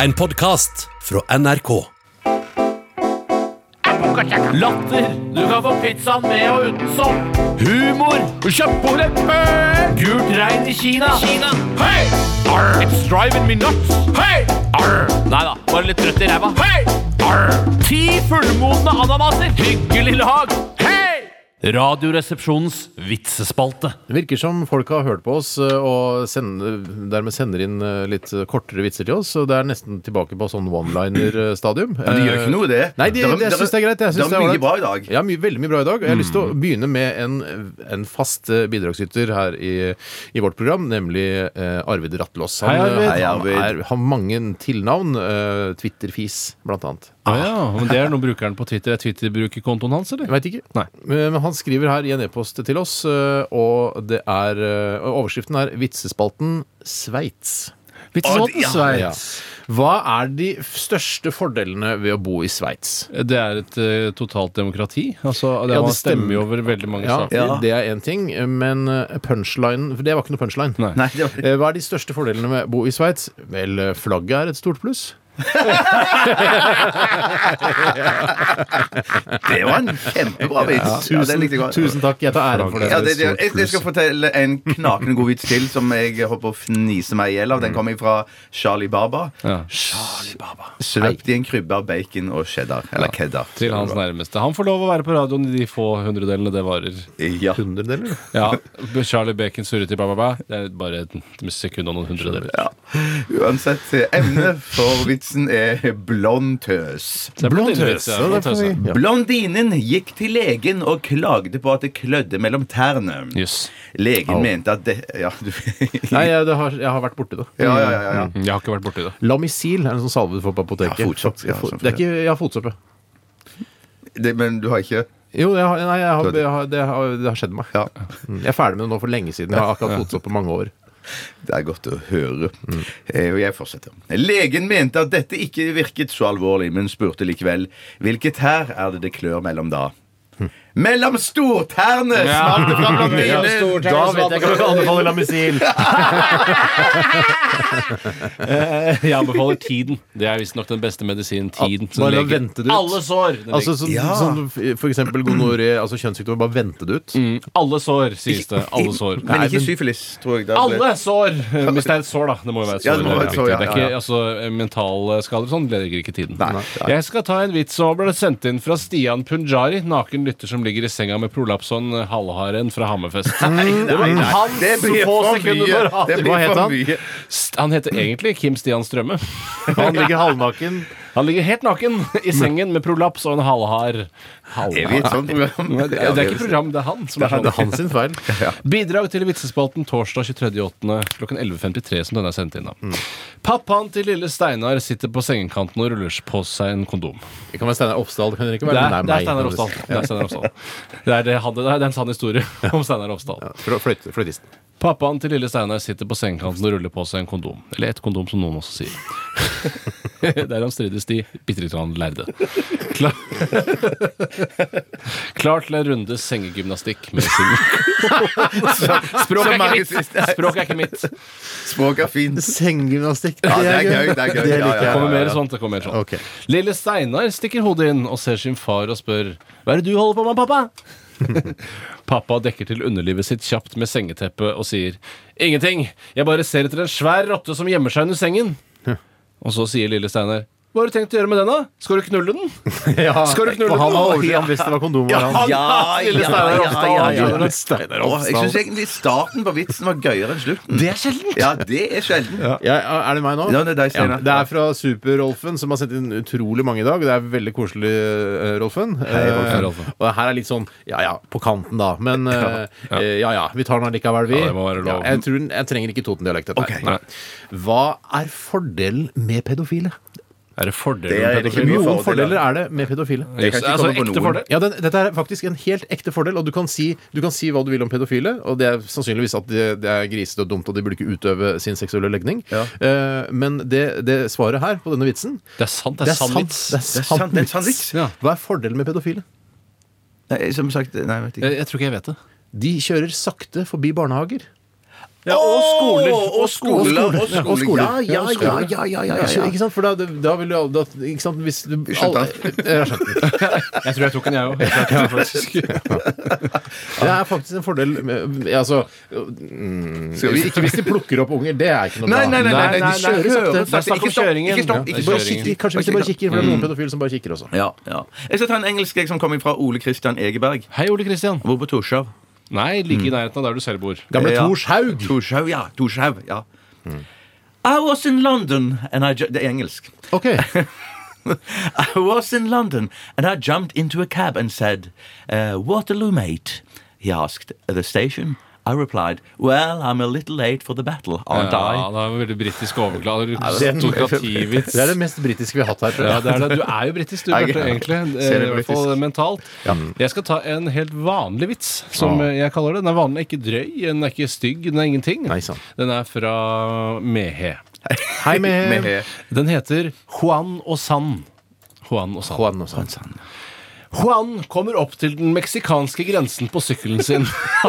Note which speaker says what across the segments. Speaker 1: En podkast fra NRK.
Speaker 2: Latter. Du kan få pizzaen med og uten sopp. Humor. Kjøttbordet før. Gult regn i Kina. Hei! Arr. It's driving me nuts. Hei! Arr. Nei da, bare litt trøtt i ræva. Hei! Arr. Ti fullmodne ananaser. Hyggelig lag. Hei! Radioresepsjonens vitsespalte.
Speaker 3: Det virker som folk har hørt på oss eh, og sender, dermed sender inn eh, litt kortere vitser til oss. Så det er nesten tilbake på sånn one-liner-stadium.
Speaker 4: Men det gjør ikke noe, det.
Speaker 3: Nei, det,
Speaker 4: Der-
Speaker 3: det, jeg
Speaker 4: der-
Speaker 3: syns det er greit. Jeg synes
Speaker 4: der er mye
Speaker 3: ålreit.
Speaker 4: bra i dag. Mm.
Speaker 3: Ja, mye, veldig mye bra i dag. Og jeg har lyst til å begynne med en, en fast eh, bidragsyter her i, i vårt program, nemlig eh, Arvid Rattlås. Han,
Speaker 5: Hei, Arvid.
Speaker 3: eh,
Speaker 4: Hei,
Speaker 3: han
Speaker 4: Arvid.
Speaker 3: er, har mange tilnavn. eh, Twitterfis, blant annet.
Speaker 5: Ah, ja, men det er noe brukeren på Twitter. Er Twitter-brukerkontoen hans, eller?
Speaker 3: Jeg veit ikke. Eh, Men han skriver her i en e-post til oss, eh, og det er eh, Overskriften er 'Vitsespalten Sveits'.
Speaker 5: Vitsesvolten
Speaker 3: Ja.
Speaker 5: Sveits.
Speaker 3: Hva er de f- største fordelene ved å bo i Sveits?
Speaker 5: Det er et eh, totalt demokrati. Altså, det,
Speaker 3: Ja,
Speaker 5: man
Speaker 3: det stemmer.
Speaker 5: stemmer jo over veldig mange
Speaker 3: Ja,
Speaker 5: saker.
Speaker 3: Det er én ting, men eh, punchlinen For det var ikke noe punchline.
Speaker 5: Nei.
Speaker 4: Nei, det var...
Speaker 3: Eh, Hva er de største fordelene med å bo i Sveits? Vel, eh, flagget er et stort pluss.
Speaker 4: Det var en kjempebra vits. Ja, den likte jeg godt.
Speaker 3: Tusen takk, jeg tar æren for det.
Speaker 4: Ja, det, det, jeg, jeg skal fortelle en knakende god vits til som jeg håper å fnise meg i hjel av.
Speaker 3: Mm.
Speaker 4: Den kommer fra Charlie Baba.
Speaker 5: Ja.
Speaker 4: Charlie Baba Svøpt i en krybbe av bacon og cheddar. Eller cheddar.
Speaker 5: Til hans nærmeste. Han får lov å være på radioen i de få hundredelene det varer.
Speaker 4: Ja.
Speaker 3: Hundredeler?
Speaker 5: Ja, Charlie Bacon surret i ba-ba-ba. Det er bare et sekund og noen hundredeler.
Speaker 4: Ja. Uansett, emnet for vitsen er blond tøs.
Speaker 5: Så jeg blir litt, ja,
Speaker 3: Ja, det får vi-
Speaker 5: tøse.
Speaker 3: ja.
Speaker 4: Blondinen gikk til legen og klagde på at det klødde mellom tærne.
Speaker 5: Jøss.
Speaker 4: Legen mente at det Ja, du
Speaker 3: Nei, jeg, det har, jeg har vært borti det.
Speaker 4: Ja, ja, ja, ja.
Speaker 5: Jeg har ikke vært borti det.
Speaker 3: Lamisil er en sånn salve du får på apoteket.
Speaker 4: Ja, fotsopp, ja,
Speaker 3: Fo-
Speaker 4: sånn-
Speaker 3: det er ikke, ja, fotsopp, ja. Mm.
Speaker 4: Det, men du har ikke
Speaker 3: Jo, jeg har, nei, jeg har, jeg har, det, har, det har skjedd meg.
Speaker 4: Ja.
Speaker 3: Mm, Jeg er ferdig med det nå for lenge siden. Jeg har akkurat fotsopp på mange år.
Speaker 4: Det er godt å høre. Eh, Og jeg fortsetter. Legen mente at dette ikke virket så alvorlig, men spurte likevel hvilket tær er det det klør mellom da? Mellom stortærne! smalt det fram blondinen.
Speaker 3: Da vet jeg ikke om jeg kan anbefale Lamisil.
Speaker 5: Jeg anbefaler tiden. Det er visstnok den beste medisinen. Tiden. som
Speaker 3: Bare
Speaker 5: leger
Speaker 3: vente det ut.
Speaker 5: Alle sår! Den
Speaker 3: Altså, sånn,
Speaker 4: Ja.
Speaker 3: sånn, for eksempel gonoré, altså kjønnssykdommer, bare vente det ut.
Speaker 5: Mm, Alle sår, sies det. Alle sår.
Speaker 4: Men ikke syfilis, tror jeg. det er-
Speaker 5: Alle sår! Hvis det er et sår, da. Det må jo være et sår.
Speaker 4: Ja, det må være et sår,
Speaker 5: viktig.
Speaker 4: ja,
Speaker 5: det er
Speaker 4: ja,
Speaker 5: ikke
Speaker 4: ja.
Speaker 5: altså, mentale skader og sånn. Det legger ikke tiden.
Speaker 4: Nei.
Speaker 5: Jeg skal ta en vits som ble sendt inn fra Stian Punjari, naken lytter som ligger i senga med prolaps og en halvharen fra Hammerfest. Det var hans
Speaker 4: Det blir
Speaker 5: få
Speaker 4: for
Speaker 5: sekunder på
Speaker 4: mye. Det
Speaker 5: radio.
Speaker 4: blir
Speaker 3: Hva het
Speaker 4: for
Speaker 3: han?
Speaker 4: mye.
Speaker 5: St- Han heter egentlig Kim Stian Strømme.
Speaker 3: Han ligger halvnaken.
Speaker 5: Han ligger helt naken i sengen med prolaps og en halvhar.
Speaker 4: Er vi
Speaker 5: Halvhar.
Speaker 4: et sånt sånn program?
Speaker 5: Det er ikke program, det er han som er
Speaker 3: Det er
Speaker 5: sånn.
Speaker 3: hans sin feil.
Speaker 5: Bidrag til Vitsespalten torsdag 23.8. klokken 11.53, som denne er sendt inn av. Pappaen til lille Steinar sitter på sengekanten og ruller på seg en kondom.
Speaker 3: Det kan være Steinar Oppsdal. Det kan ikke
Speaker 5: Det
Speaker 3: være
Speaker 5: er, det
Speaker 3: men
Speaker 5: er
Speaker 3: meg.
Speaker 5: Steinar Ofsdal. Det er Steinar Ofsdal. Det er, det, han- det er en sann historie om Steinar Ofsdal.
Speaker 3: Flø- fløyt- Fløytisten.
Speaker 5: Pappaen til lille Steinar sitter på sengekanten og ruller på seg en kondom. Eller et kondom, som noen også sier. Der han strides de bitte lite grann lærde. Klar, Klar til en runde sengegymnastikk med sin Språk er
Speaker 4: Som
Speaker 5: ikke
Speaker 4: mange
Speaker 5: mitt!
Speaker 4: siste- Nei,
Speaker 5: Språk er ikke mitt.
Speaker 4: Språk er fint.
Speaker 3: Senggymnastikk.
Speaker 4: Ja, det er gøy. Det er gøy.
Speaker 3: Det liker
Speaker 4: Ja, ja,
Speaker 5: Det
Speaker 4: ja,
Speaker 5: kommer
Speaker 4: ja,
Speaker 5: mer
Speaker 4: ja.
Speaker 5: sånt. det kommer mer sånn. sånt.
Speaker 3: Ok.
Speaker 5: Lille Steinar stikker hodet inn og ser sin far og spør Hva er det du holder på med, pappa? pappa dekker til underlivet sitt kjapt med sengeteppet og sier Ingenting. Jeg bare ser etter en svær rotte som gjemmer seg under sengen. og så sier lille Steinar Hva har du tenkt å gjøre med den, da? Skal du knulle den?
Speaker 3: Ja.
Speaker 5: Skal du knulle
Speaker 3: For han
Speaker 5: den?
Speaker 3: var overtid, han visste det var kondom. var han.
Speaker 4: Ja, ja,
Speaker 5: Lille Steinar Ofsdal,
Speaker 4: ja, ja, ja.
Speaker 5: skjønner du?
Speaker 3: Steinar
Speaker 4: Åh, Jeg syns
Speaker 3: Oppsdal.
Speaker 4: egentlig starten på vitsen var gøyere enn slutten.
Speaker 5: Det er sjeldent.
Speaker 4: Ja, det er sjelden.
Speaker 3: Ja, er det meg nå?
Speaker 4: Ja, det er deg, Steinar.
Speaker 3: det er fra Super-Rolfen, som har sendt inn utrolig mange i dag. Det er veldig koselig, eh, Rolfen.
Speaker 4: Rolfen.
Speaker 3: Eh,
Speaker 5: Hei, Rolfen.
Speaker 3: Og her er litt sånn ja ja, på kanten, da. Men eh, eh, ja ja, vi tar den allikevel, vi.
Speaker 5: Ja, det må være lov.
Speaker 3: jeg, tror, den- jeg trenger ikke Toten-dialekt. dette her.
Speaker 5: Nei.
Speaker 3: Hva er fordelen med pedofile?
Speaker 5: Er det fordeler
Speaker 4: Det er
Speaker 5: med
Speaker 4: det
Speaker 5: pedofili?
Speaker 4: ikke.
Speaker 3: Noen
Speaker 4: noen
Speaker 3: fordeler
Speaker 4: fordeler
Speaker 3: er det med pedofile.
Speaker 4: Jeg kan ikke
Speaker 5: Altså,
Speaker 4: komme på
Speaker 5: ekte
Speaker 4: noen.
Speaker 5: fordel?
Speaker 3: Ja, den, Dette er faktisk en helt ekte fordel, og du kan si, du kan si hva du vil om pedofile. Og det er sannsynligvis at det, det er grisete og dumt, og de burde ikke utøve sin seksuelle legning.
Speaker 4: Ja.
Speaker 3: Eh, men det, det svaret her på denne vitsen
Speaker 5: Det er sant. Det er sann
Speaker 3: sant.
Speaker 5: vits.
Speaker 3: Det er
Speaker 4: Det er
Speaker 3: sant.
Speaker 4: sant, det er en sann vits.
Speaker 5: Ja.
Speaker 3: Hva er fordelen med pedofile?
Speaker 4: Nei, som sagt, nei, jeg vet ikke.
Speaker 5: Jeg, jeg tror ikke jeg vet det.
Speaker 3: De kjører sakte forbi barnehager.
Speaker 5: Ja, og skoler.
Speaker 4: Åh, Og skoler. Og skoler. Ja, ja, ja, ja, ja, ja,
Speaker 3: Ikke,
Speaker 4: ja.
Speaker 3: ikke sant? For da, da vil du al- da, ikke sant? Hvis du,
Speaker 4: Skjønte
Speaker 3: Jeg skjønte det.
Speaker 5: Jeg tror jeg tok den, jeg òg.
Speaker 3: Det er faktisk en fordel med, altså, mm,
Speaker 4: Skal vi-
Speaker 3: Ikke hvis de plukker opp unger, det er ikke noe
Speaker 4: Nei, nei,
Speaker 3: bra.
Speaker 4: nei, nei,
Speaker 5: Nei,
Speaker 4: de
Speaker 5: nei, nei,
Speaker 4: kjører
Speaker 5: hører
Speaker 4: sakte.
Speaker 5: det er snakk om
Speaker 4: Ikke stopp,
Speaker 5: kjøringen.
Speaker 4: Ikke stopp.
Speaker 5: Ja,
Speaker 4: Ikke
Speaker 5: det er
Speaker 3: Bare
Speaker 4: stopp.
Speaker 5: kjøringen.
Speaker 3: kikker, kanskje ikke bare kikker, for det er
Speaker 4: Mm.
Speaker 3: noen pedofile som bare kikker også.
Speaker 4: Ja, ja. Jeg skal ta en engelsk jeg, som kommer fra Ole Christian Egeberg.
Speaker 5: Hei, Ole Kristian.
Speaker 4: Hvor på Torshov?
Speaker 5: Nei, like i nærheten av der du selv bor.
Speaker 3: Gamle
Speaker 4: Ja.
Speaker 3: Torshaug.
Speaker 4: Torshov, Mm. ja. Torshov, ja. I was in London and I ju Det er engelsk.
Speaker 3: Ok.
Speaker 4: I was in London and I jumped into a cab and said, uh, Waterloo, mate. He asked, at the station? I replied, Well, I'm a little late for the battle,
Speaker 5: Ja,
Speaker 4: aren't
Speaker 5: det
Speaker 4: I?
Speaker 5: er en veldig britisk overklad.
Speaker 3: Den-
Speaker 5: Autokrativits.
Speaker 3: Det er det mest britiske vi har hatt her. tror jeg.
Speaker 5: Ja, det er det. Du er jo britisk, du,
Speaker 4: Jeg
Speaker 5: Bjarte,
Speaker 4: er-
Speaker 5: egentlig.
Speaker 4: ser
Speaker 5: Eh,
Speaker 4: det
Speaker 5: I hvert fall
Speaker 4: britisk.
Speaker 5: mentalt. Jeg skal ta en helt vanlig vits, som eh, jeg kaller det. Den er vanlig, ikke drøy, den er ikke stygg, den er ingenting.
Speaker 3: Nei, sant.
Speaker 5: Den er fra Mehe.
Speaker 3: Hei med
Speaker 4: Med-
Speaker 5: Den heter Juan og San. Juan og San.
Speaker 3: Juan og sånn.
Speaker 5: Juan kommer opp til den meksikanske grensen på sykkelen sin.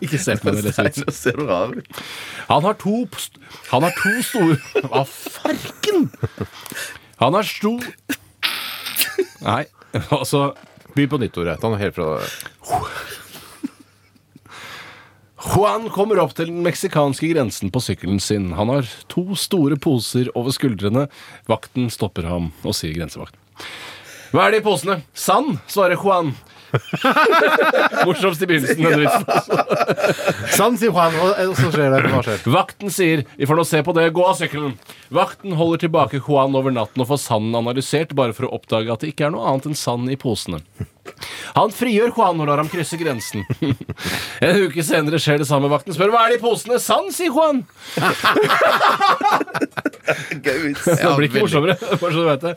Speaker 5: ikke se på meg,
Speaker 4: Nei,
Speaker 5: lese
Speaker 4: nå ser du rar ut.
Speaker 5: Han har to pst- Han har to store Hva farken? Han har sto... Nei, altså
Speaker 3: By på nytt, Tore. Ta noe helt fra
Speaker 5: Juan kommer opp til den meksikanske grensen på sykkelen sin. Han har to store poser over skuldrene. Vakten stopper ham og sier grensevakten. Hva er det i posene? Sand, svarer Juan. Morsomst i begynnelsen. denne vitsen.
Speaker 3: San sier Juan, og og så skjer det. Hva skjer?
Speaker 5: Vakten sier 'vi får nå se på det, gå av sykkelen'. Vakten holder tilbake Juan over natten og får sanden analysert, bare for å oppdage at det ikke er noe annet enn sand i posene. Han frigjør Juan og lar ham krysse grensen. En uke senere skjer det samme. Vakten spør 'hva er det i posene'? Sand, sier Juan.
Speaker 4: Ja,
Speaker 5: det blir ikke
Speaker 4: veldig.
Speaker 5: morsommere. Bare så du vet det.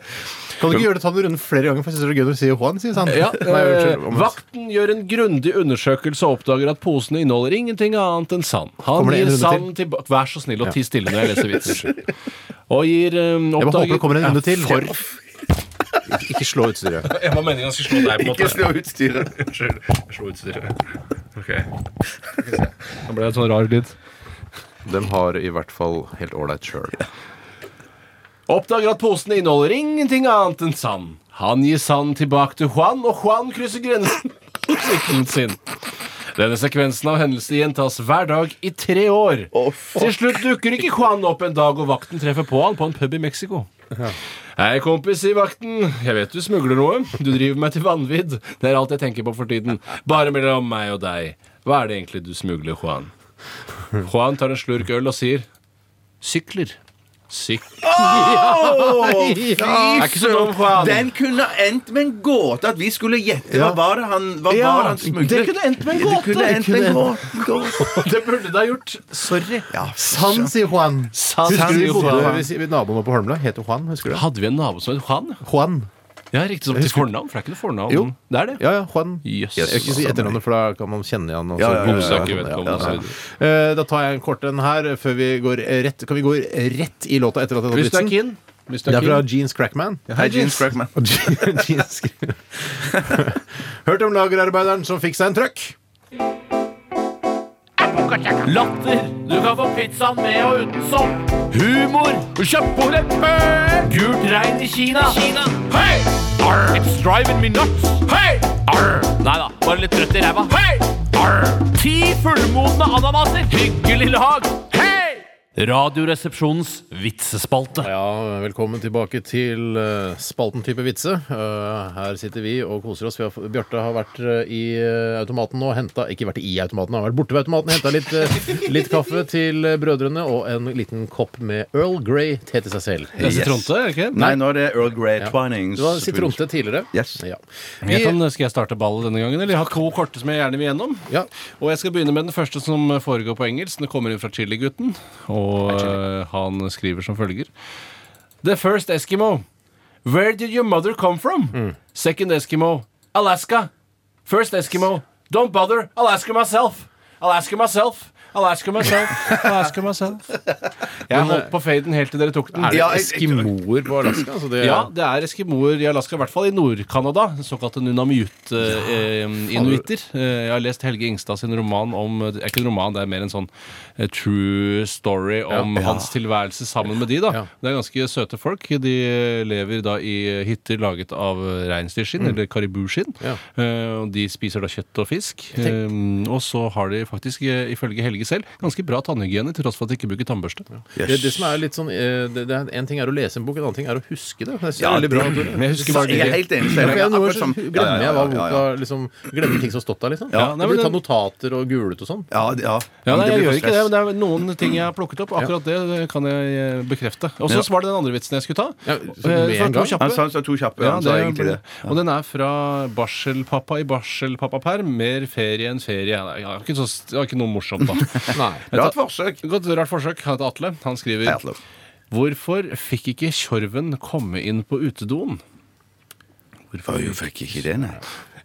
Speaker 3: Kan du ikke gjøre det ta den runden flere ganger, for jeg syns det er gøy når du sier Juan, sier San.
Speaker 5: Ja,
Speaker 3: Nei, unnskyld,
Speaker 5: eh,
Speaker 3: om-
Speaker 5: vakten gjør en grundig undersøkelse og oppdager at posene inneholder ingenting annet enn sand. Han
Speaker 3: Kommer det en
Speaker 5: gir
Speaker 3: runde
Speaker 5: sand tilbake Vær så snill og ti stille når jeg leser vitser. Og gir eh,
Speaker 3: Jeg bare
Speaker 5: oppdager
Speaker 3: håper det kommer en runde
Speaker 5: Ja,
Speaker 3: til. Ikke- Ikke slå utstyret.
Speaker 5: Jeg var meningen jeg skulle slå deg, på en måte.
Speaker 4: Ikke slå ut styret.
Speaker 5: Unnskyld. Jeg slo utstyret. Ok. Da ble det en sånn rar lyd.
Speaker 3: De har i hvert fall helt ålreit sjøl.
Speaker 5: Oppdager at posene inneholder ingenting annet enn sand. Han gir sand tilbake til Juan, og Juan krysser grensen på sykkelen sin. Denne sekvensen av hendelser gjentas hver dag i tre år. til slutt dukker ikke Juan opp en dag, og vakten treffer på han på en pub i Mexico. Hei, kompis, sier vakten. Jeg vet du smugler noe. Du driver meg til vanvidd. Det er alt jeg tenker på for tiden. Bare mellom meg og deg. Hva er det egentlig du smugler, Juan? Juan tar en slurk øl og sier sykler. Sykler. er ikke så dum, Juan.
Speaker 4: Den kunne endt med en gåte, at vi skulle gjette hva var det han, hva
Speaker 5: Ja,
Speaker 4: var det han smuglet.
Speaker 5: det kunne endt med en gåte.
Speaker 4: Det kunne endt med en gåte.
Speaker 5: Det burde du ha gjort. Sorry.
Speaker 3: San sier Juan.
Speaker 5: San
Speaker 3: Husker du
Speaker 5: sier
Speaker 3: vi bodde
Speaker 5: Juan.
Speaker 3: ved si- ved naboen vår på Holmlia? Het jo Juan, husker du?
Speaker 5: Hadde vi en nabo som het Juan?
Speaker 3: Juan.
Speaker 5: Ja, riktig som til fornavn, for det er ikke noe fornavn.
Speaker 3: Jo.
Speaker 5: Det er det.
Speaker 3: Ja, ja, Juan.
Speaker 5: Jøss.
Speaker 3: Jeg vil ikke si etternavnet, for da kan man kjenne igjen. og så-
Speaker 4: Ja, ja, ja, ja, ja.
Speaker 5: Oppsøker
Speaker 3: sånn,
Speaker 5: vedkommende, og så videre.
Speaker 3: Eh, Da tar jeg en kort en her før vi går rett Kan vi gå rett i låta etter at jeg har tatt
Speaker 5: Hvis du er
Speaker 3: vitsen?
Speaker 5: keen. Hvis du
Speaker 3: Det
Speaker 5: er
Speaker 3: er fra
Speaker 5: keen.
Speaker 3: Jeans Crackman.
Speaker 4: Hei, Jeans Crackman.
Speaker 3: Og Je- Jeans Hørt om lagerarbeideren som fikk seg en trøkk?
Speaker 2: Latter. Du kan få pizzaen med og uten sopp. Humor. Kjøpt på leppe. Gult regn i Kina. Hei! Arr. It's driving me nuts. Hei! Arr. Nei da, bare litt trøtt i ræva. Hei! Arr. Ti fullmodne ananaser. Hyggelig lag. Hei! Radioresepsjonens vitsespalte.
Speaker 3: Ja, velkommen tilbake til eh, spalten type vitse. Eh, Her sitter vi og koser oss. Vi har f- Bjarte har vært eh, i eh, automaten nå og henta Ikke vært i automaten, han har vært borte ved automaten og henta litt, eh, litt kaffe til eh, brødrene og en liten kopp med Earl Grey te til seg selv.
Speaker 5: Det er
Speaker 4: Yes.
Speaker 5: sitronte, er det ikke?
Speaker 4: Nei, nå er det Earl Grey Twinings.
Speaker 3: Du var sitronte tidligere.
Speaker 4: Yes.
Speaker 3: Ja.
Speaker 5: Jeg vet
Speaker 3: Vi-
Speaker 5: om- skal jeg starte ballet denne gangen, eller? Jeg har to korte som jeg gjerne vil gjennom.
Speaker 3: ja.
Speaker 5: Og jeg skal begynne med den første som foregår på engelsk. Den kommer inn fra Chili-gutten, og eh, han skriver som følger. The first Eskimo. Where did your mother come from?
Speaker 3: Mm.
Speaker 5: Second Eskimo. Alaska. First Eskimo. Don't bother. Alaska myself. Alaska myself. I'll ask her myself. I'll ask her myself. Jeg holdt på faden helt til dere tok den.
Speaker 3: Er det
Speaker 4: Ja, jeg-
Speaker 3: eskimoer på Alaska? Altså det,
Speaker 5: Ja, det er eskimoer i Alaska, i hvert fall i Nord-Canada. Såkalte eh, Nunamiut-inuitter. Eh, jeg har lest Helge Ingstad sin roman om eh, Det er ikke en roman, det er mer en sånn eh, true story om hans tilværelse sammen med de, da.
Speaker 3: Ja.
Speaker 5: Det er ganske søte folk. De eh, lever da i eh, hytter laget av eh, reinsdyrskinn, eller karibuskinn.
Speaker 3: Ja.
Speaker 5: Eh, og de spiser da kjøtt og fisk. Eh, og så har de faktisk, eh, ifølge Helge selv, ganske bra tannhygiene, til tross for at de ikke bruker tannbørste.
Speaker 3: Det, det som er litt sånn eh, det, det er, En ting er å lese en bok, en annen ting er å huske det. Det er så
Speaker 4: Ja,
Speaker 3: veldig bra.
Speaker 4: det-
Speaker 3: Tore.
Speaker 5: Men jeg husker bare
Speaker 4: Jeg er
Speaker 5: det.
Speaker 4: helt enig.
Speaker 3: Ja,
Speaker 4: Steinar.
Speaker 3: for jeg, noen ganger
Speaker 4: Akkurat
Speaker 3: så
Speaker 4: som-
Speaker 3: glemmer
Speaker 4: Ja, ja,
Speaker 3: jeg hva
Speaker 4: ja,
Speaker 3: boka
Speaker 4: ja, ja.
Speaker 3: liksom, Glemmer ting som har stått der, liksom.
Speaker 5: Ja, nei,
Speaker 3: jeg
Speaker 5: men
Speaker 3: burde ta
Speaker 5: det-
Speaker 3: notater og gule ut og sånn.
Speaker 4: Ja, ja.
Speaker 5: Ja, nei, jeg
Speaker 4: blir for
Speaker 5: gjør ikke det,
Speaker 4: stress.
Speaker 5: men det er noen ting jeg har plukket opp. Akkurat det det kan jeg eh, bekrefte. Og så
Speaker 3: Ja.
Speaker 5: var det den andre vitsen jeg skulle ta.
Speaker 3: Ja,
Speaker 5: Eh,
Speaker 3: så
Speaker 5: det
Speaker 3: med
Speaker 5: var
Speaker 3: en
Speaker 5: to
Speaker 3: gang.
Speaker 5: kjappe.
Speaker 4: Han sa han sa to kjappe.
Speaker 5: Ja,
Speaker 4: han
Speaker 5: det
Speaker 4: sa
Speaker 5: er-
Speaker 4: egentlig det.
Speaker 5: Og den er fra barselpappa i barselpappaperm. Mer ferie enn ferie. Nei, Ja, ikke så, det var ikke noe morsomt, da.
Speaker 3: Nei.
Speaker 5: Jeg
Speaker 4: Bra
Speaker 5: tar-
Speaker 4: forsøk.
Speaker 5: Godt rart forsøk. Han heter Atle. Han skriver
Speaker 4: Hei, Atle.
Speaker 5: Hvorfor fikk ikke Tjorven komme inn på utedoen?
Speaker 4: Hvorfor fikk ikke det, nei?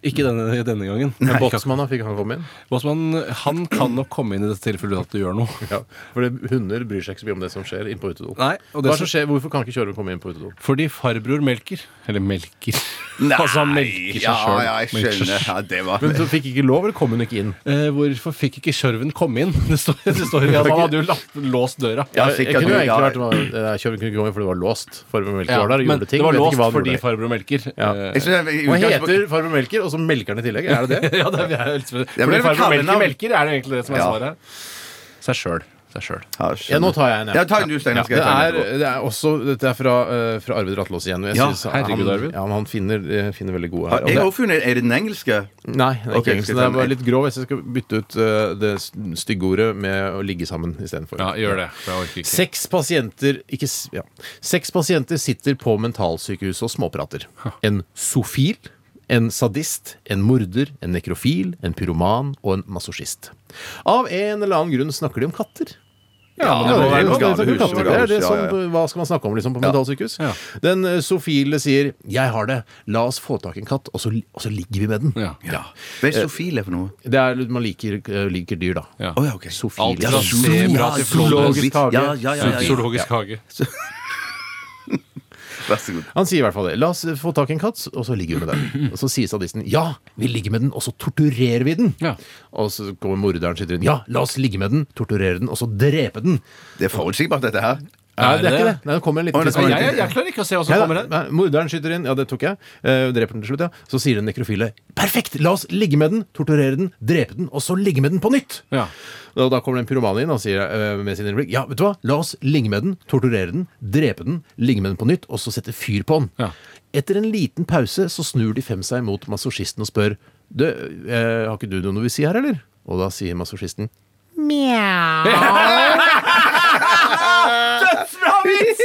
Speaker 5: Ikke denne, denne gangen.
Speaker 3: Men Båtsmann, da, fikk han komme inn?
Speaker 5: Båtsmann, han kan nok komme inn i dette tilfellet at du gjør noe.
Speaker 3: Ja, for det, Hunder bryr seg ikke så mye om det som skjer inne på utedoen.
Speaker 5: Nei, og det
Speaker 3: Hva
Speaker 5: som-
Speaker 3: som skjer, Hvorfor kan ikke kjøreren komme inn på utedoen?
Speaker 5: Fordi farbror melker. Eller melker.
Speaker 4: Nei,
Speaker 5: Altså, han melker seg
Speaker 4: ja,
Speaker 5: selv.
Speaker 4: ja, jeg
Speaker 5: Melker seg
Speaker 4: skjønner. Ja, det var
Speaker 3: Men så fikk ikke lov, eller kom hun ikke inn?
Speaker 5: Eh, hvorfor fikk ikke Kjørven komme inn? Det står, det står ja, Han hadde jo lapp, låst døra.
Speaker 4: Ja,
Speaker 3: Jeg, jeg
Speaker 4: sikkert.
Speaker 3: kunne jo
Speaker 4: Ja.
Speaker 3: egentlig vært med- eh, Kjøreren kunne ikke komme inn fordi det var låst. Farbror Melker
Speaker 5: Ja,
Speaker 3: var der og
Speaker 5: men
Speaker 3: gjorde ting.
Speaker 5: det var
Speaker 3: jeg vet ikke
Speaker 5: låst
Speaker 3: hva han
Speaker 5: fordi
Speaker 3: gjorde.
Speaker 5: farbror melker.
Speaker 3: Ja.
Speaker 5: Eh,
Speaker 4: Jeg synes jeg- i
Speaker 3: Og han
Speaker 4: utgangspunktet-
Speaker 3: heter farbror Melker, og så melker han i tillegg. Er det det?
Speaker 5: ja, det er jo litt spesielt.
Speaker 4: Ja,
Speaker 5: Fordi
Speaker 4: men det er vel
Speaker 5: farbror melker
Speaker 4: kallenavn.
Speaker 5: melker, er det egentlig det som er
Speaker 4: Ja.
Speaker 5: svaret? Seg sjøl. Seg sjøl.
Speaker 3: Ja,
Speaker 4: Ja,
Speaker 3: nå tar jeg en,
Speaker 4: Ja, ta en du, Steinar. skal
Speaker 3: Det
Speaker 4: jeg ta en
Speaker 3: er,
Speaker 4: etterpå.
Speaker 3: det er også Dette er fra, eh, fra Arvid Ratlås igjen. og Jeg
Speaker 5: Ja,
Speaker 3: synes
Speaker 5: herregud,
Speaker 3: han,
Speaker 5: Arvid.
Speaker 3: Ja, men han finner, eh, finner veldig gode her.
Speaker 4: Har-
Speaker 3: Og
Speaker 4: Jeg har
Speaker 3: det,
Speaker 4: også funnet Er det den engelske?
Speaker 3: nei, det er ikke
Speaker 4: Ok,
Speaker 3: engelsk. Den
Speaker 4: skal
Speaker 3: er
Speaker 4: jeg ta
Speaker 3: bare
Speaker 4: den?
Speaker 3: litt grov. Jeg synes jeg skal bytte ut eh, det s- stygge ordet med å ligge sammen istedenfor.
Speaker 5: Ja, gjør det. For jeg orker ikke.
Speaker 3: Seks pasienter, ikke, s- ja. Seks pasienter sitter på mentalsykehus og småprater. En sofil, en sadist, en morder, en nekrofil, en pyroman og en masochist. Av en eller annen grunn snakker de om katter.
Speaker 5: Ja,
Speaker 3: Ja,
Speaker 5: men det
Speaker 3: det
Speaker 5: må
Speaker 3: er
Speaker 5: være
Speaker 3: jo-
Speaker 5: noe.
Speaker 3: det er jo
Speaker 4: galehus,
Speaker 3: katter, det er det
Speaker 4: galehus, ja,
Speaker 3: som- Hva skal man snakke om liksom, på mentalsykehus?
Speaker 5: Ja.
Speaker 3: Den eh, sofile sier 'jeg har det, la oss få tak i en katt', og så, og så ligger vi med den.
Speaker 5: Ja.
Speaker 4: Ja. Hva er sofile for noe?
Speaker 3: Det er, man liker, eh, liker dyr, da.
Speaker 5: Ja.
Speaker 4: Å ja, ok.
Speaker 3: Sofile.
Speaker 5: Alt
Speaker 4: Ja,
Speaker 5: fra
Speaker 4: zoo-
Speaker 5: sebra til flådhest.
Speaker 3: zoologisk hage.
Speaker 4: Ja, ja, ja, ja, ja.
Speaker 5: Zoologisk hage.
Speaker 4: Vær så god.
Speaker 3: Han sier i hvert fall det. La oss eh, få tak i en katt, og så ligger vi med den. Og så sier sadisten ja, vi ligger med den, og så torturerer vi den.
Speaker 5: Ja.
Speaker 3: Og så kommer morderen sitter inn. Ja, la oss ligge med den, torturere den, og så drepe den.
Speaker 4: Det er forutsigbart, dette her.
Speaker 3: Nei, det er
Speaker 5: det-
Speaker 3: ikke det. Nei, det kommer en
Speaker 4: Å,
Speaker 3: liten
Speaker 4: det kommer
Speaker 5: Jeg, jeg,
Speaker 4: en
Speaker 5: jeg klarer ikke å se hva som
Speaker 3: Nei,
Speaker 5: kommer
Speaker 3: da,
Speaker 5: her.
Speaker 3: nei, morderen skyter inn, ja det tok jeg. Eh, dreper den til slutt, ja. Så sier den nekrofile perfekt, la oss ligge med den, torturere den, drepe den, og så ligge med den på nytt.
Speaker 5: Ja.
Speaker 3: Og da kommer det en pyroman inn og sier eh, med sin replikk ja, vet du hva, la oss ligge med den, torturere den, drepe den, ligge med den på nytt, og så sette fyr på den.
Speaker 5: Ja.
Speaker 3: Etter en liten pause så snur de fem seg mot masochisten og spør du, eh, har ikke du noe du vil si her, eller? Og da sier masochisten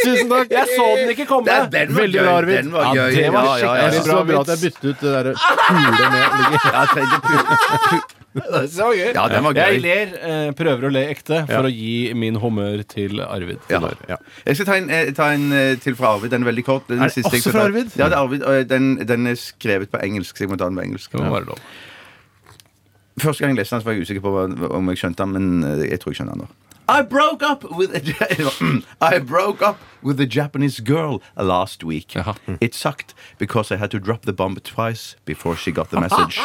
Speaker 5: Tusen takk! Jeg så den ikke komme.
Speaker 4: Den, den var
Speaker 3: Veldig
Speaker 4: gøy.
Speaker 3: bra, Arvid.
Speaker 4: Den var
Speaker 5: Ja,
Speaker 4: gøy.
Speaker 5: det var
Speaker 4: Ja, ja, ja,
Speaker 5: skikkelig
Speaker 3: Jeg synes det
Speaker 5: bra
Speaker 3: var bra
Speaker 5: vits.
Speaker 3: at jeg byttet ut det derre kule med ligge.
Speaker 4: Ja, tredje pu-
Speaker 5: Så gøy.
Speaker 4: Ja, den var gøy.
Speaker 5: Jeg ler, eh, prøver å le ekte for å gi min humør til Arvid.
Speaker 4: Ja.
Speaker 3: Ja.
Speaker 4: Jeg skal ta en, eh, ta en eh, til fra Arvid. Den er veldig kort. Den
Speaker 3: Er det
Speaker 4: siste jeg
Speaker 3: også
Speaker 4: skal ta.
Speaker 3: fra Arvid?
Speaker 4: Ja, det er Arvid. og, eh, Den, den er skrevet på engelsk, så jeg må ta den på engelsk.
Speaker 5: Det må være lov.
Speaker 4: Første gang jeg leste den, så var jeg usikker på hva- om jeg skjønte den, men eh, jeg tror jeg skjønner den nå. I broke up with a, Ja- I broke up with a Japanese girl last week.
Speaker 5: Jaha.
Speaker 4: It sucked because I had to drop the bomb twice before she got the message.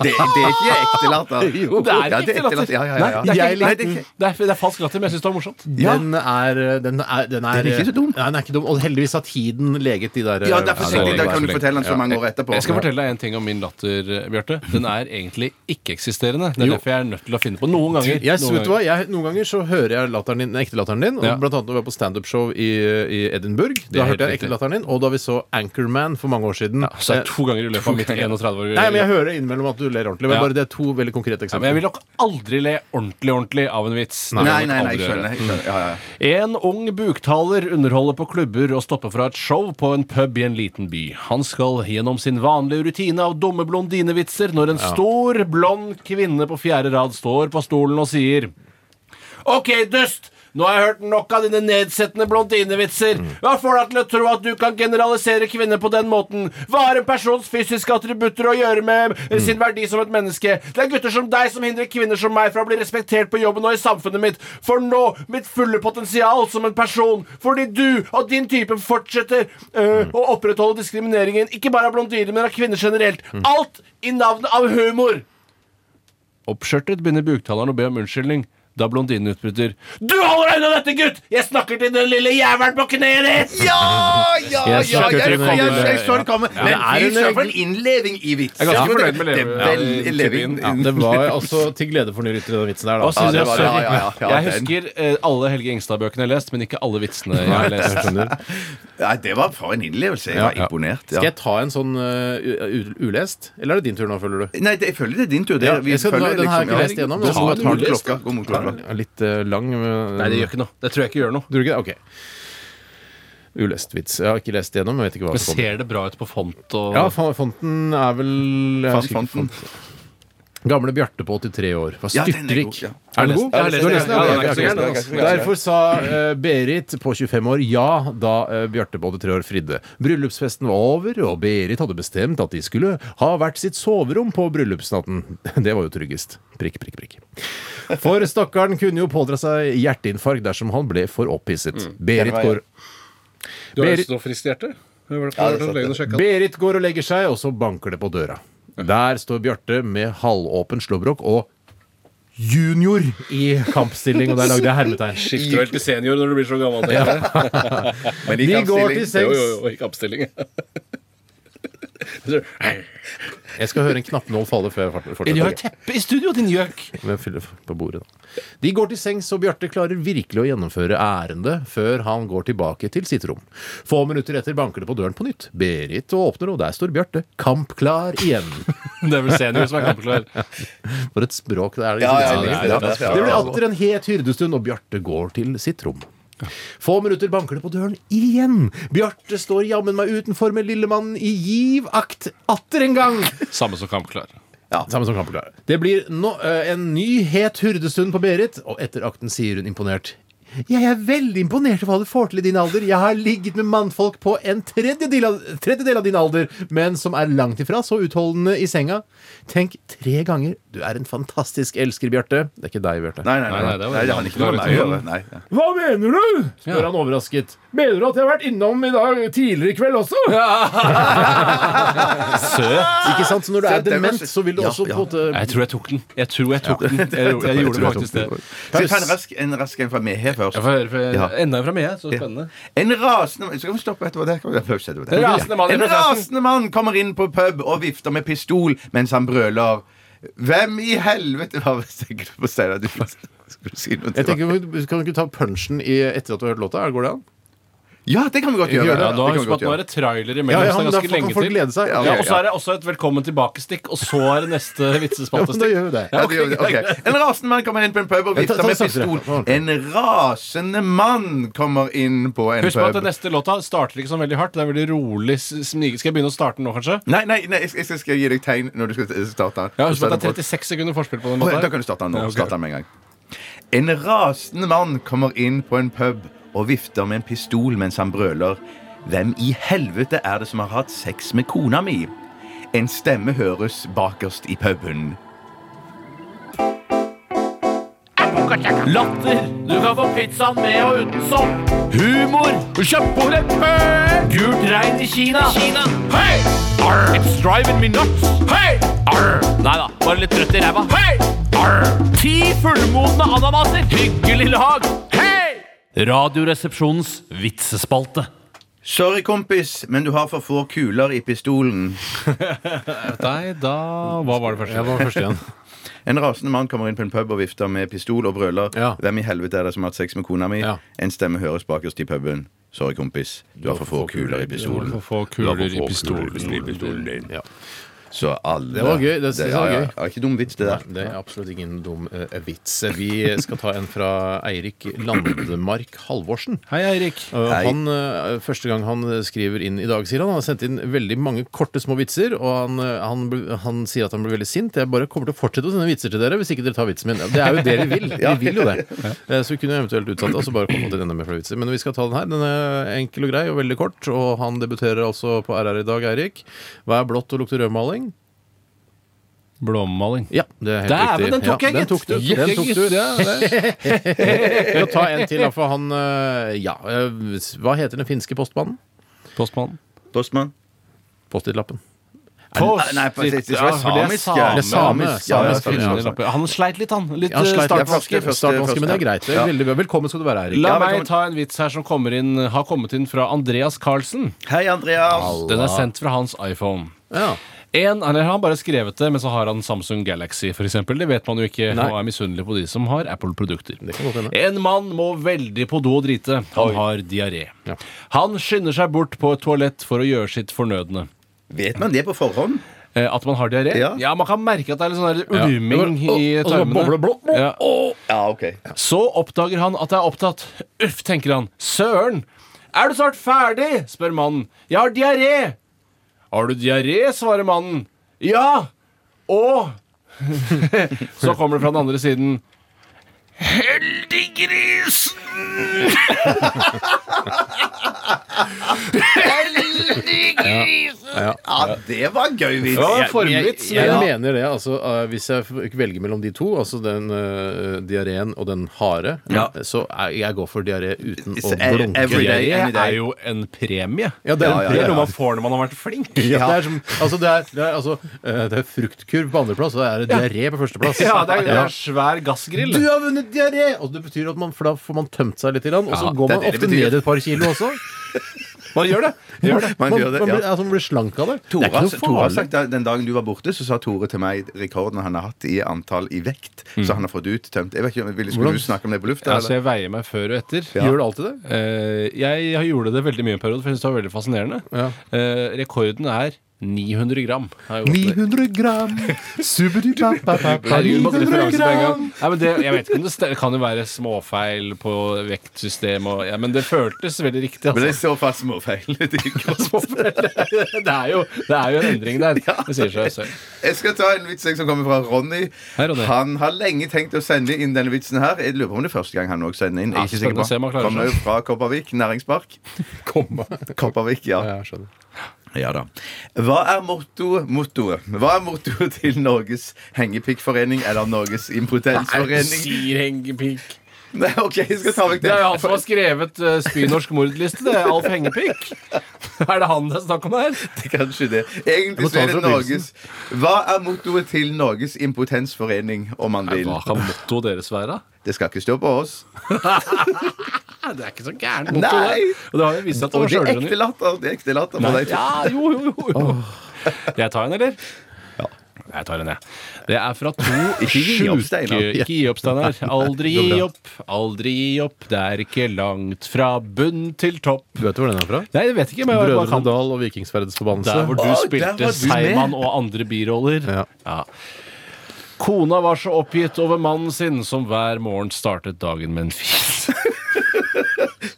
Speaker 4: Det, det er ikke ekte latter.
Speaker 3: Jo.
Speaker 5: Det er
Speaker 4: Ja,
Speaker 5: ikke ekte latter.
Speaker 4: Ja, ja, ja, ja.
Speaker 5: Nei, det er
Speaker 3: Jeg
Speaker 5: ikke- det
Speaker 4: likte
Speaker 5: er
Speaker 4: den.
Speaker 5: ikke- det er, det er falsk latter, men jeg syns det var morsomt.
Speaker 4: Ja.
Speaker 3: Den er Den er, den er,
Speaker 4: Den er ikke så dum.
Speaker 3: Nei, den er ikke dum. Og heldigvis har tiden leget de der
Speaker 4: Ja, derfor
Speaker 5: Ja, det var
Speaker 4: sier jeg, da kan
Speaker 5: så
Speaker 4: du
Speaker 5: lenge.
Speaker 4: fortelle den så mange år etterpå.
Speaker 5: Jeg skal fortelle deg en ting om min latter, eh, Bjarte. Den er egentlig ikke-eksisterende. Det er
Speaker 3: Jo.
Speaker 5: derfor jeg er nødt til å finne på noen ganger.
Speaker 3: Jeg,
Speaker 5: noen
Speaker 3: vet du hva,
Speaker 5: ganger.
Speaker 3: jeg, noen ganger så hører jeg latteren din, den ekte latteren din. Og
Speaker 5: Ja.
Speaker 3: Blant annet når vi var på standup-show i, i Edinburgh.
Speaker 5: er
Speaker 3: Da
Speaker 5: helt
Speaker 3: hørte jeg
Speaker 5: riktig.
Speaker 3: ekte latteren din. Og da vi så Anchorman for mange år siden.
Speaker 5: Så det er
Speaker 3: eh,
Speaker 5: to ganger i løpet av mitt 31 år.
Speaker 3: Nei, men Jeg hører innimellom at du ler ordentlig. Men
Speaker 5: Ja.
Speaker 3: bare Det er to veldig konkrete
Speaker 5: Ja, men jeg vil
Speaker 3: eksempler.
Speaker 5: nok aldri le ordentlig ordentlig av en vits. Det vil
Speaker 4: Nei,
Speaker 5: jeg
Speaker 4: nei,
Speaker 5: nok
Speaker 4: nei,
Speaker 5: aldri
Speaker 4: jeg
Speaker 5: gjøre.
Speaker 4: skjønner. Jeg skjønner. Ja, ja, ja.
Speaker 5: En ung buktaler underholder på klubber og stopper fra et show på en pub i en liten by. Han skal gjennom sin vanlige rutine av dumme blondinevitser når en stor, blond kvinne på fjerde rad står på stolen og sier OK, dust! Nå har jeg hørt nok av dine nedsettende blondinevitser. Hva får deg til å tro at du kan generalisere kvinner på den måten? Hva har en persons fysiske attributter å gjøre med eh, sin verdi som et menneske? Det er gutter som deg som hindrer kvinner som meg fra å bli respektert på jobben og i samfunnet mitt. For nå, mitt fulle potensial som en person, fordi du og din type fortsetter eh, å opprettholde diskrimineringen, ikke bare av blondiner, men av kvinner generelt. Alt i navnet av humor! Oppskjørtet begynner buktaleren å be om unnskyldning da blondinen utbryter Du holder deg unna dette, gutt! Jeg snakker til den lille jævelen på kneet ditt!
Speaker 4: Ja, ja, ja! Jeg,
Speaker 3: Jeg
Speaker 4: jeg,
Speaker 3: snakker til den
Speaker 4: jeg,
Speaker 3: lille-
Speaker 4: jeg så det komme. Men
Speaker 3: det er
Speaker 4: fy
Speaker 3: en-
Speaker 4: søren, for en innleving i vitsen.
Speaker 5: Jeg er ganske
Speaker 4: Jo,
Speaker 5: fornøyd med
Speaker 4: det-
Speaker 5: levingen.
Speaker 4: det er vel-
Speaker 5: Ja, i
Speaker 4: leving-
Speaker 5: teorien.
Speaker 3: Det var altså til glede for nyrytter, den vitsen der.
Speaker 5: Hva
Speaker 3: da.
Speaker 5: synes
Speaker 4: det
Speaker 5: jeg,
Speaker 4: var-
Speaker 5: Søren?
Speaker 4: ja, ja, ja, ja,
Speaker 5: jeg husker eh, alle Helge Engstad-bøkene jeg har lest, men ikke alle vitsene jeg har
Speaker 3: Jeg
Speaker 5: lest.
Speaker 3: skjønner.
Speaker 4: Nei, det var for en innlevelse. Jeg
Speaker 3: Ja,
Speaker 4: var
Speaker 3: ja.
Speaker 4: imponert.
Speaker 3: Skal
Speaker 4: Ja.
Speaker 3: jeg ta en sånn eh, u- u- ulest? Eller er det din tur nå, føler du?
Speaker 4: Nei, det, jeg føler det er din tur. Det,
Speaker 3: Ja,
Speaker 4: vi
Speaker 3: jeg skal-
Speaker 4: følger
Speaker 3: den har jeg ikke
Speaker 4: ja.
Speaker 3: lest gjennom,
Speaker 4: Gå
Speaker 3: jeg skal
Speaker 4: mot-
Speaker 3: bare ta
Speaker 4: mot
Speaker 3: den.
Speaker 4: klokka. Gå mot klokka.
Speaker 3: Ja, Litt eh, lang men-
Speaker 5: Nei, det gjør ikke noe. Det tror jeg ikke gjør noe.
Speaker 3: Tror du ikke det? Ok. Ulest vits. Jeg har ikke lest gjennom, jeg vet ikke hva
Speaker 5: Men
Speaker 3: som kommer.
Speaker 5: ser det bra ut på font og
Speaker 3: Ja, fa- fonten er vel jeg husker
Speaker 4: Fant
Speaker 3: ikke
Speaker 4: fonten.
Speaker 3: font. Gamle Bjarte på 83 år. Var
Speaker 4: Ja, den er god,
Speaker 3: styrtrik.
Speaker 4: ja.
Speaker 3: Er den god?
Speaker 5: Jeg har lest
Speaker 3: Du har
Speaker 5: den,
Speaker 3: lest den?
Speaker 5: ja.
Speaker 3: Ok,
Speaker 5: Ja, den er ikke så
Speaker 3: ok, ok.
Speaker 4: gæren, den er ikke så gæren.
Speaker 3: Derfor sa eh, Berit på 25 år ja da eh, Bjarte på 83 år fridde. Bryllupsfesten var over, og Berit hadde bestemt at de skulle ha hvert sitt soverom på bryllupsnatten. Det var jo tryggest. Prikk, prikk, prikk. For stakkaren kunne jo pådra seg hjerteinfarkt dersom han ble for opphisset. Berit går
Speaker 5: Du
Speaker 3: har lyst
Speaker 5: så friskt hjerte?
Speaker 3: Berit går og legger seg, og så banker det på døra. Der står Bjarte med halvåpen slåbrok og junior i kampstilling, og der lagde jeg hermetegn.
Speaker 5: Skifter helt til senior når du blir så gammel.
Speaker 4: Men
Speaker 3: De
Speaker 4: i
Speaker 3: går
Speaker 4: kampstilling-
Speaker 3: til sengs.
Speaker 5: jo, i kappstilling.
Speaker 3: Jeg skal høre en knappnål falle før jeg fort-
Speaker 5: Du har
Speaker 3: fortsetter.
Speaker 5: teppe i studio, din gjøk!
Speaker 3: Men jeg fyller på bordet da. De går til sengs, og Bjarte klarer virkelig å gjennomføre ærendet før han går tilbake til sitt rom. Få minutter etter banker det på døren på nytt. Berit åpner, og der står Bjarte kampklar igjen.
Speaker 5: Det er vel senior som er kampklar.
Speaker 3: For et språk det er.
Speaker 4: Ja, ja,
Speaker 3: liksom.
Speaker 4: det er-
Speaker 3: Ja,
Speaker 4: det er-
Speaker 3: Det blir atter en het hyrdestund, og Bjarte går til sitt rom. Få minutter banker det på døren igjen. Bjarte står jammen meg utenfor med Lillemannen i givakt atter en gang.
Speaker 5: Samme som kampklar.
Speaker 3: Samme som kampklar. Det blir nå, eh, en ny het hurdestund på Berit, og etter akten sier hun imponert. Jeg er veldig imponert over hva du får til i din alder. Jeg har ligget med mannfolk på en tredjedel av, tredjedel av din alder, men som er langt ifra så utholdende i senga. Tenk tre ganger. Du er en fantastisk elsker, Bjarte. Det er ikke deg, Bjarte.
Speaker 4: Nei,
Speaker 5: Nei,
Speaker 4: nei, nei.
Speaker 5: nei, det
Speaker 4: nei,
Speaker 5: var-
Speaker 4: det har ikke noe med meg å gjøre. Nei. nei.
Speaker 3: Hva mener du? spør han overrasket. Mener du at jeg har vært innom i dag tidligere i kveld også? Ikke sant? Så når du er
Speaker 4: Så det var-
Speaker 3: dement, så vil du
Speaker 4: Ja,
Speaker 3: også
Speaker 4: ja.
Speaker 3: på en måte
Speaker 5: Jeg tror jeg tok den. Jeg tror jeg tok den. Jeg, jeg gjorde
Speaker 4: tror jeg
Speaker 5: faktisk det.
Speaker 4: tok den. Skal vi ta en rask en, rask en fra meg her først?
Speaker 5: Jeg får høre fra,
Speaker 4: Ja.
Speaker 5: enda en fra Mia. Så spennende.
Speaker 4: En rasende Så kan vi stoppe etterpå. Der kan vi pause etterpå.
Speaker 5: En rasende mann i
Speaker 4: en
Speaker 5: prosessen.
Speaker 4: rasende mann kommer inn på pub og vifter med pistol mens han brøler Hvem i helvete Hva tenker du på, Steinar? Du skulle si noe
Speaker 3: Jeg
Speaker 4: til meg.
Speaker 3: tenker, Kan du ikke ta punchen i, etter at du har hørt låta? Går det an?
Speaker 4: Ja, det kan vi godt gjøre.
Speaker 3: gjør det.
Speaker 5: Ja, nå har
Speaker 4: Det
Speaker 5: husk
Speaker 4: kan
Speaker 5: på at nå er
Speaker 4: vi godt gjøre.
Speaker 5: det trailer
Speaker 3: Ja,
Speaker 5: imellom,
Speaker 3: ja,
Speaker 5: så det
Speaker 3: men
Speaker 5: er
Speaker 3: da
Speaker 5: ganske
Speaker 3: kan
Speaker 5: lenge
Speaker 3: folk
Speaker 5: til.
Speaker 3: glede seg.
Speaker 5: Ja,
Speaker 4: Ja,
Speaker 5: og så er det også et velkommen tilbake-stikk, og så er det neste
Speaker 3: Ja, men da
Speaker 5: vitsespaltestikk.
Speaker 3: gjør vi det.
Speaker 4: Ja, det gjør vi. Ok. En rasende mann kommer inn på en pub og
Speaker 3: Ja, ta-
Speaker 4: vifter
Speaker 3: ta
Speaker 4: med
Speaker 3: saktere.
Speaker 4: pistol. En rasende mann kommer inn på en
Speaker 5: Husk på at den
Speaker 4: pub
Speaker 5: neste låta starter ikke sånn veldig hardt. Det er veldig rolig s- snige. Skal jeg begynne å starte den nå, kanskje?
Speaker 4: Nei, nei, nei jeg, skal, jeg skal gi deg tegn når du skal starte. den.
Speaker 5: Ja, husk på at
Speaker 4: Starte
Speaker 5: det er
Speaker 4: på-
Speaker 5: 36 sekunder forspill på den
Speaker 4: Å, ja,
Speaker 5: låta.
Speaker 4: Da kan du starte den nå.
Speaker 5: Ja, ok.
Speaker 4: Start den med en gang. En rasende mann kommer inn på en pub og vifter med en pistol mens han brøler Hvem i helvete er det som har hatt sex med kona mi? En stemme høres bakerst i puben.
Speaker 2: Latter. Du kan få pizzaen med og uten sopp. Humor. Kjøpt på leppe. Gult regn i Kina. Hei! Arr. It's driving me nuts. Hei! Arr. Nei da, bare litt trøtt i ræva. Hei! Arr. Ti fullmodne ananaser. Hyggelig lag. Hei! Radioresepsjonens vitsespalte.
Speaker 4: Sorry, kompis, men du har for få kuler i pistolen.
Speaker 5: Nei, da Hva var det
Speaker 3: Jeg
Speaker 5: første?
Speaker 3: var først igjen.
Speaker 4: En rasende mann kommer inn på en pub og vifter med pistol og brøler
Speaker 3: Ja.
Speaker 4: Hvem i helvete er det som har hatt sex med kona mi?
Speaker 3: Ja.
Speaker 4: En stemme høres bakerst i puben. Sorry, kompis, du har for få kuler i pistolen.
Speaker 5: For få kuler i pistolen.
Speaker 3: Ja.
Speaker 4: Så alle
Speaker 3: Det var gøy, det synes jeg var
Speaker 4: ja, ja.
Speaker 3: gøy.
Speaker 4: Det er ikke dum vits, det der.
Speaker 3: Det er absolutt ingen dum eh, vits. Vi skal ta en fra Eirik Landemark Halvorsen.
Speaker 5: Hei, Eirik.
Speaker 3: Uh,
Speaker 4: Hei.
Speaker 3: han, uh, første gang han uh, skriver inn i dag, sier han. Han har sendt inn veldig mange korte, små vitser, og han, uh, han, bl- han sier at han blir veldig sint. Jeg bare kommer til å fortsette å sende vitser til dere hvis ikke dere tar vitsen min. Ja, Det er jo det vi vil. Vi vil jo det. Uh, Så vi kunne eventuelt utsatt oss og bare kommet til denne med flere vitser. Men vi skal ta den her. Den er enkel og grei og veldig kort, og han debuterer altså på RR i dag, Eirik. Hva er blått og lukter rødmaling?
Speaker 5: Blåmaling.
Speaker 3: Ja, det er helt
Speaker 5: Dæven,
Speaker 3: riktig.
Speaker 5: den tok
Speaker 3: ja,
Speaker 5: jeg,
Speaker 3: den tok du.
Speaker 5: gitt!
Speaker 3: Den tok du. Vi kan ta en til, da, for han uh, Ja, uh, hva heter den finske postmannen?
Speaker 5: Postmannen.
Speaker 4: Postmann?
Speaker 3: Post-it-lappen.
Speaker 4: Nei, på- det- det- det er
Speaker 5: Ja, for det er
Speaker 4: samisk,
Speaker 5: same.
Speaker 4: ja.
Speaker 5: Det er
Speaker 3: same.
Speaker 4: Samisk, ja, ja,
Speaker 3: Samisk
Speaker 4: samisk,
Speaker 3: kvinner,
Speaker 4: ja.
Speaker 5: Lapper. Han sleit litt, han. Litt
Speaker 3: Ja, han
Speaker 5: eh,
Speaker 3: sleit litt
Speaker 5: startvansker.
Speaker 3: vanskelig,
Speaker 4: første,
Speaker 3: startvanskelig,
Speaker 4: første,
Speaker 3: men det er
Speaker 4: ja.
Speaker 3: greit. Det er veldig bra. Velkommen skal du være, Erik.
Speaker 5: La
Speaker 4: Ja, velkommen.
Speaker 5: meg ta en vits her som kommer inn, har kommet inn fra Andreas Carlsen.
Speaker 4: Hei, Andreas.
Speaker 5: Den er sendt fra hans iPhone.
Speaker 3: Ja.
Speaker 5: En, eller Han har bare skrevet det, men så har han Samsung Galaxy f.eks. Det vet man jo ikke,
Speaker 3: Nei.
Speaker 5: og er misunnelig på de som har Apple-produkter.
Speaker 3: Det kan godt hende.
Speaker 5: En mann må veldig på do og drite. Han har diaré.
Speaker 3: Ja.
Speaker 5: Han skynder seg bort på et toalett for å gjøre sitt fornødne.
Speaker 4: Vet man det på forhånd?
Speaker 5: Eh, At man har diaré?
Speaker 4: Ja.
Speaker 5: man kan merke at det er litt sånn der ulming
Speaker 3: Ja.
Speaker 5: i
Speaker 3: Og- og så bobler
Speaker 5: tarmene.
Speaker 3: blå- blå-
Speaker 5: Ja.
Speaker 4: Ja, OK.
Speaker 5: Så oppdager han at jeg er opptatt. Uff, tenker han. Søren! Er du snart ferdig? spør mannen. Jeg har diaré. Har du diaré? svarer mannen. Ja. Og Så kommer det fra den andre siden. Heldiggrisen!
Speaker 4: Ja, det var en gøy vits.
Speaker 5: Ja, formvits.
Speaker 3: Jeg
Speaker 5: men-
Speaker 3: mener det, altså. eh, Hvis jeg f- velger mellom de to, altså den uh, diareen og den harde,
Speaker 4: Ja.
Speaker 3: så er, jeg går for diaré uten
Speaker 4: It's
Speaker 3: å
Speaker 4: e- every
Speaker 3: blunke.
Speaker 4: day.
Speaker 5: Diaré
Speaker 4: any day.
Speaker 5: er jo en premie.
Speaker 3: Ja, det er en
Speaker 5: Det
Speaker 4: Ja,
Speaker 5: er
Speaker 4: ja.
Speaker 5: noe man får når man har vært flink.
Speaker 3: Ja. Det, er som, altså det, er, det, er, altså, eh, det er fruktkurv på andreplass, og det er diaré på førsteplass.
Speaker 5: Ja, det er, det
Speaker 3: Ja.
Speaker 5: er svær gassgrill.
Speaker 3: Du har vunnet diaré! Og det betyr at man, for da får man tømt seg litt, grann, og så
Speaker 5: Ja,
Speaker 3: går
Speaker 4: det
Speaker 3: man
Speaker 4: er det det
Speaker 3: ofte
Speaker 4: betyr.
Speaker 3: ned et par kilo også.
Speaker 5: Man gjør det.
Speaker 3: Gjør det.
Speaker 4: Man
Speaker 3: Man,
Speaker 4: gjør det,
Speaker 3: man
Speaker 4: ja.
Speaker 3: blir, altså, man blir slank av det.
Speaker 4: Tore,
Speaker 3: det er ikke
Speaker 4: Tore
Speaker 3: noe
Speaker 4: har
Speaker 3: farlig.
Speaker 4: sagt at Den dagen du var borte, så sa Tore til meg rekorden han har hatt i antall i vekt. Så
Speaker 5: Mm.
Speaker 4: han har fått ut tømt. Jeg vet ikke, ville- Skulle
Speaker 3: Hvordan?
Speaker 4: du snakke om det på lufta?
Speaker 5: Altså, jeg veier meg før og etter.
Speaker 3: Gjør du alltid det?
Speaker 5: Eh, jeg, jeg gjorde det veldig mye en periode, for jeg synes det var veldig fascinerende.
Speaker 3: Ja.
Speaker 5: Eh, rekorden er 900 gram. har jeg gjort det.
Speaker 3: 900 gram Subidibapapapa,
Speaker 5: Herregud, man hadde
Speaker 3: 900
Speaker 5: referanse på en gang.
Speaker 3: gram
Speaker 5: Nei, men det, jeg vet ikke om det, stemmer. det kan jo være småfeil på vektsystem og ja, Men det føltes veldig riktig.
Speaker 4: Men det
Speaker 5: Altså.
Speaker 4: er så fast småfeil. Det er godt.
Speaker 5: Det, er jo, det er jo en endring der. Det sier seg selv.
Speaker 4: Jeg skal ta en vits jeg, som kommer fra Ronny.
Speaker 5: Hei, Ronny.
Speaker 4: Han har lenge tenkt å sende inn denne vitsen her. Jeg lurer på om det er første gang han òg sender inn. Jeg er
Speaker 5: Ja,
Speaker 4: ikke sikker
Speaker 5: spennende å se om han
Speaker 4: på.
Speaker 5: klarer
Speaker 4: Kommer
Speaker 5: seg.
Speaker 4: jo fra Kopervik næringspark.
Speaker 3: Komma
Speaker 4: Kopervik, ja.
Speaker 3: Ja, jeg skjønner
Speaker 4: Ja da. Hva er motto, mottoet? Hva er mottoet til Norges hengepikkforening eller Norges impotensforening?
Speaker 5: Sier Hengepikk.
Speaker 4: Nei, OK, jeg skal ta vekk
Speaker 5: Det
Speaker 4: det.
Speaker 5: er jo han som har skrevet
Speaker 4: eh,
Speaker 5: uh, Spynorsk mordliste, det. er Alf Hengepikk. Er det han det er snakk om her?
Speaker 4: Kanskje det. Egentlig
Speaker 3: må
Speaker 4: så
Speaker 3: ta
Speaker 4: er det
Speaker 3: det fra
Speaker 4: Norges Hva er mottoet til Norges impotensforening, om man vil?
Speaker 5: Hva kan mottoet deres være?
Speaker 4: Det skal ikke stå på oss.
Speaker 5: Nei, Det er ikke så gærent
Speaker 4: Nei!
Speaker 5: motto. det. Og det har jo vist seg at det
Speaker 4: Og
Speaker 5: var
Speaker 4: det er
Speaker 5: sjølrønning.
Speaker 4: ekte latter. Det er ekte latter på deg.
Speaker 5: Ja, jo, jo, jo. jo. Jeg tar en, eller? Jeg tar en, jeg. Det er fra to
Speaker 4: Ikke gi opp,
Speaker 5: sjuke
Speaker 4: Steinar.
Speaker 5: Ikke gi opp, Steinar. Aldri gi opp, aldri gi opp. Det er ikke langt fra bunn til topp.
Speaker 3: Du vet hvor den er fra?
Speaker 5: Nei, jeg vet ikke. Men jeg bare
Speaker 3: Brødrene
Speaker 5: kan
Speaker 3: Dal og Vikingsverdets forbannelse
Speaker 5: der hvor du
Speaker 4: Å, der var du
Speaker 5: spilte
Speaker 4: med.
Speaker 5: Seiman og andre biroller.
Speaker 3: Ja.
Speaker 5: Kona var så oppgitt over mannen sin som hver morgen startet dagen med en fis.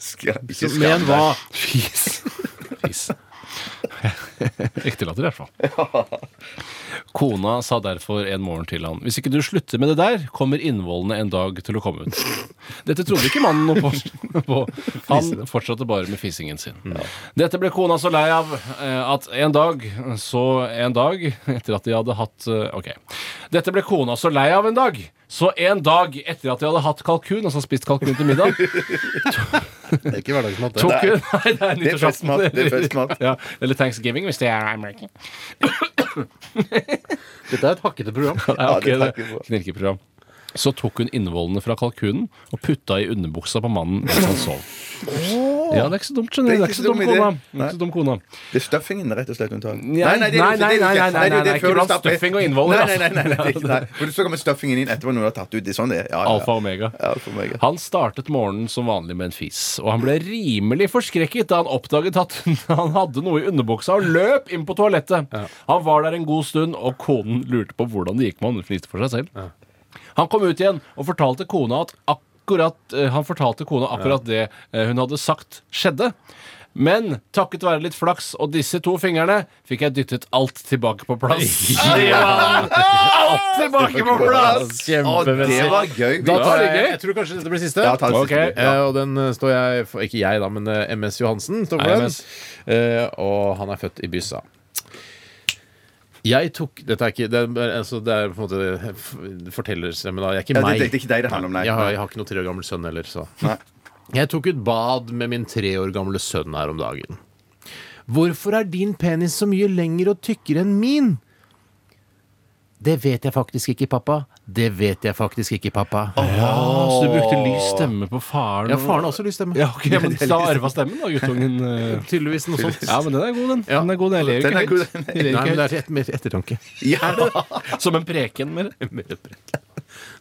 Speaker 4: Skal, ikke
Speaker 3: Som en
Speaker 4: skam deg.
Speaker 3: hva?
Speaker 5: Fis. Fis. Ekte latter, i hvert fall. Kona sa derfor en morgen til han Hvis ikke du slutter med det der, kommer innvollene en dag til å komme ut. Dette trodde ikke mannen noe på. på. Han fortsatte bare med fisingen sin. Dette ble kona så lei av eh, at en dag, så en dag Etter at de hadde hatt eh, OK. Dette ble kona så lei av en dag. Så en dag etter at de hadde hatt kalkun, altså spist kalkun til middag,
Speaker 3: Det er ikke hverdagsmat det
Speaker 5: Tok hun Nei, det er
Speaker 4: er festmat,
Speaker 5: nyttårsaften.
Speaker 4: det er festmat.
Speaker 5: ja, eller Thanksgiving, hvis det er American.
Speaker 3: Dette er et hakkete program
Speaker 5: Nei, ok,
Speaker 4: det er
Speaker 5: det
Speaker 4: ikke bra.
Speaker 5: knirkeprogram. Så tok hun innvollene fra kalkunen og putta i underbuksa på mannen mens han sov. Ja, det er ikke så dumt, skjønner du. Det er ikke så dum
Speaker 4: idé.
Speaker 5: kona. Det er ikke så dum kona.
Speaker 4: Det er stuffingen, rett og slett. hun tar. det er
Speaker 5: nei,
Speaker 4: det ikke, det er det
Speaker 5: nei,
Speaker 4: ikke.
Speaker 5: nei, nei,
Speaker 4: det er jo
Speaker 5: nei,
Speaker 4: det
Speaker 5: ikke
Speaker 4: før du
Speaker 5: blant
Speaker 4: stapper.
Speaker 5: stuffing og innvoller,
Speaker 4: Nei, nei, nei, nei, nei,
Speaker 5: altså.
Speaker 4: nei, nei. For så kommer stuffingen inn etterpå når du har tatt ut. Det er sånn det er. Ja, ja, ja.
Speaker 5: Alfa og omega.
Speaker 4: Ja, alfa og omega.
Speaker 5: Han startet morgenen som vanlig med en fis, og han ble rimelig forskrekket da han oppdaget at han hadde noe i underbuksa og løp inn på toalettet. Han var der en god stund, og konen lurte på hvordan det gikk med han. Hun fniste for seg selv. Han kom ut igjen og fortalte kona at akkurat, eh, han fortalte kona akkurat det eh, hun hadde sagt skjedde. Men takket være litt flaks og disse to fingrene fikk jeg dyttet alt tilbake på plass. Det var alt tilbake på plass!
Speaker 4: Å, det var gøy.
Speaker 3: Da
Speaker 5: Ja,
Speaker 3: tar
Speaker 5: det er
Speaker 3: jeg,
Speaker 5: gøy.
Speaker 3: jeg tror kanskje dette blir siste.
Speaker 4: Ja, ta det siste.
Speaker 5: Ok.
Speaker 3: Eh, og den eh, står jeg for, Ikke jeg, da, men eh, MS Johansen står for den.
Speaker 5: MS.
Speaker 3: Eh, og han er født i Byssa. Jeg tok Dette er ikke Det er, bare- altså, det er på en måte f- fortellerstemme, da. Jeg er ikke
Speaker 4: Ja,
Speaker 3: meg.
Speaker 4: det, det, det er ikke deg det handler om, nei.
Speaker 3: Jeg har, jeg har ikke noen tre år gammel sønn heller, så.
Speaker 4: Nei.
Speaker 3: Jeg tok et bad med min tre år gamle sønn her om dagen. Hvorfor er din penis så mye lengre og tykkere enn min? Det vet jeg faktisk ikke, pappa. Det vet jeg faktisk ikke, pappa.
Speaker 5: Ah, så du brukte lys stemme på faren?
Speaker 3: Ja, faren har også lyst til
Speaker 5: Ja, ok, men Da arva stemmen, da, guttungen. eh.
Speaker 3: Tydeligvis noe sånt.
Speaker 5: Ja, men den er god, den.
Speaker 3: Ja.
Speaker 5: Den er god, den. Jeg ler
Speaker 4: Den er
Speaker 5: ikke
Speaker 4: god,
Speaker 5: høyt.
Speaker 4: den.
Speaker 5: Jeg ler
Speaker 3: Nei, men
Speaker 5: ikke
Speaker 3: det er til et, mer ettertanke.
Speaker 4: Ja, det
Speaker 5: høyt. Som en preken, mer.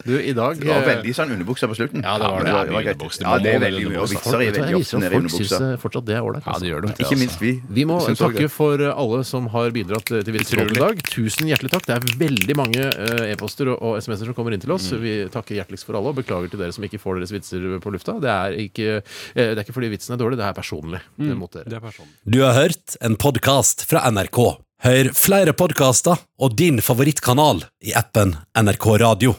Speaker 3: Du, i dag
Speaker 4: var
Speaker 3: eh,
Speaker 4: veldig sånn underbukser på slutten.
Speaker 3: Ja, det var det.
Speaker 4: Ja, det, var greit.
Speaker 5: Underbukser,
Speaker 4: ja, det er
Speaker 5: må
Speaker 4: veldig mye. Og
Speaker 5: underbukser.
Speaker 4: vitser i
Speaker 3: Vet du hva,
Speaker 4: veldig
Speaker 3: jeg viser
Speaker 4: ofte
Speaker 3: at
Speaker 4: nede i
Speaker 3: folk syns
Speaker 4: underbukser.
Speaker 3: eh, fortsatt det er ålreit. altså.
Speaker 5: gjør det.
Speaker 4: Ikke minst vi.
Speaker 3: Vi må
Speaker 4: syns også
Speaker 3: takke
Speaker 4: det.
Speaker 3: for eh, alle som har bidratt eh, til Vitenskapen i dag. Tusen hjertelig takk. Det er veldig mange eh, e-poster og- og SMS-er som kommer inn til oss.
Speaker 4: Mm.
Speaker 3: Vi takker hjerteligst for alle, og beklager til dere som ikke får deres vitser på lufta. Det er ikke, eh, det er ikke fordi vitsen er dårlig, det er personlig eh,
Speaker 4: Mm.
Speaker 3: mot dere.
Speaker 5: Det er personlig.
Speaker 1: Du har hørt en podcast fra NRK. Hør flere podcaster og din favorittkanal i appen NRK Radio.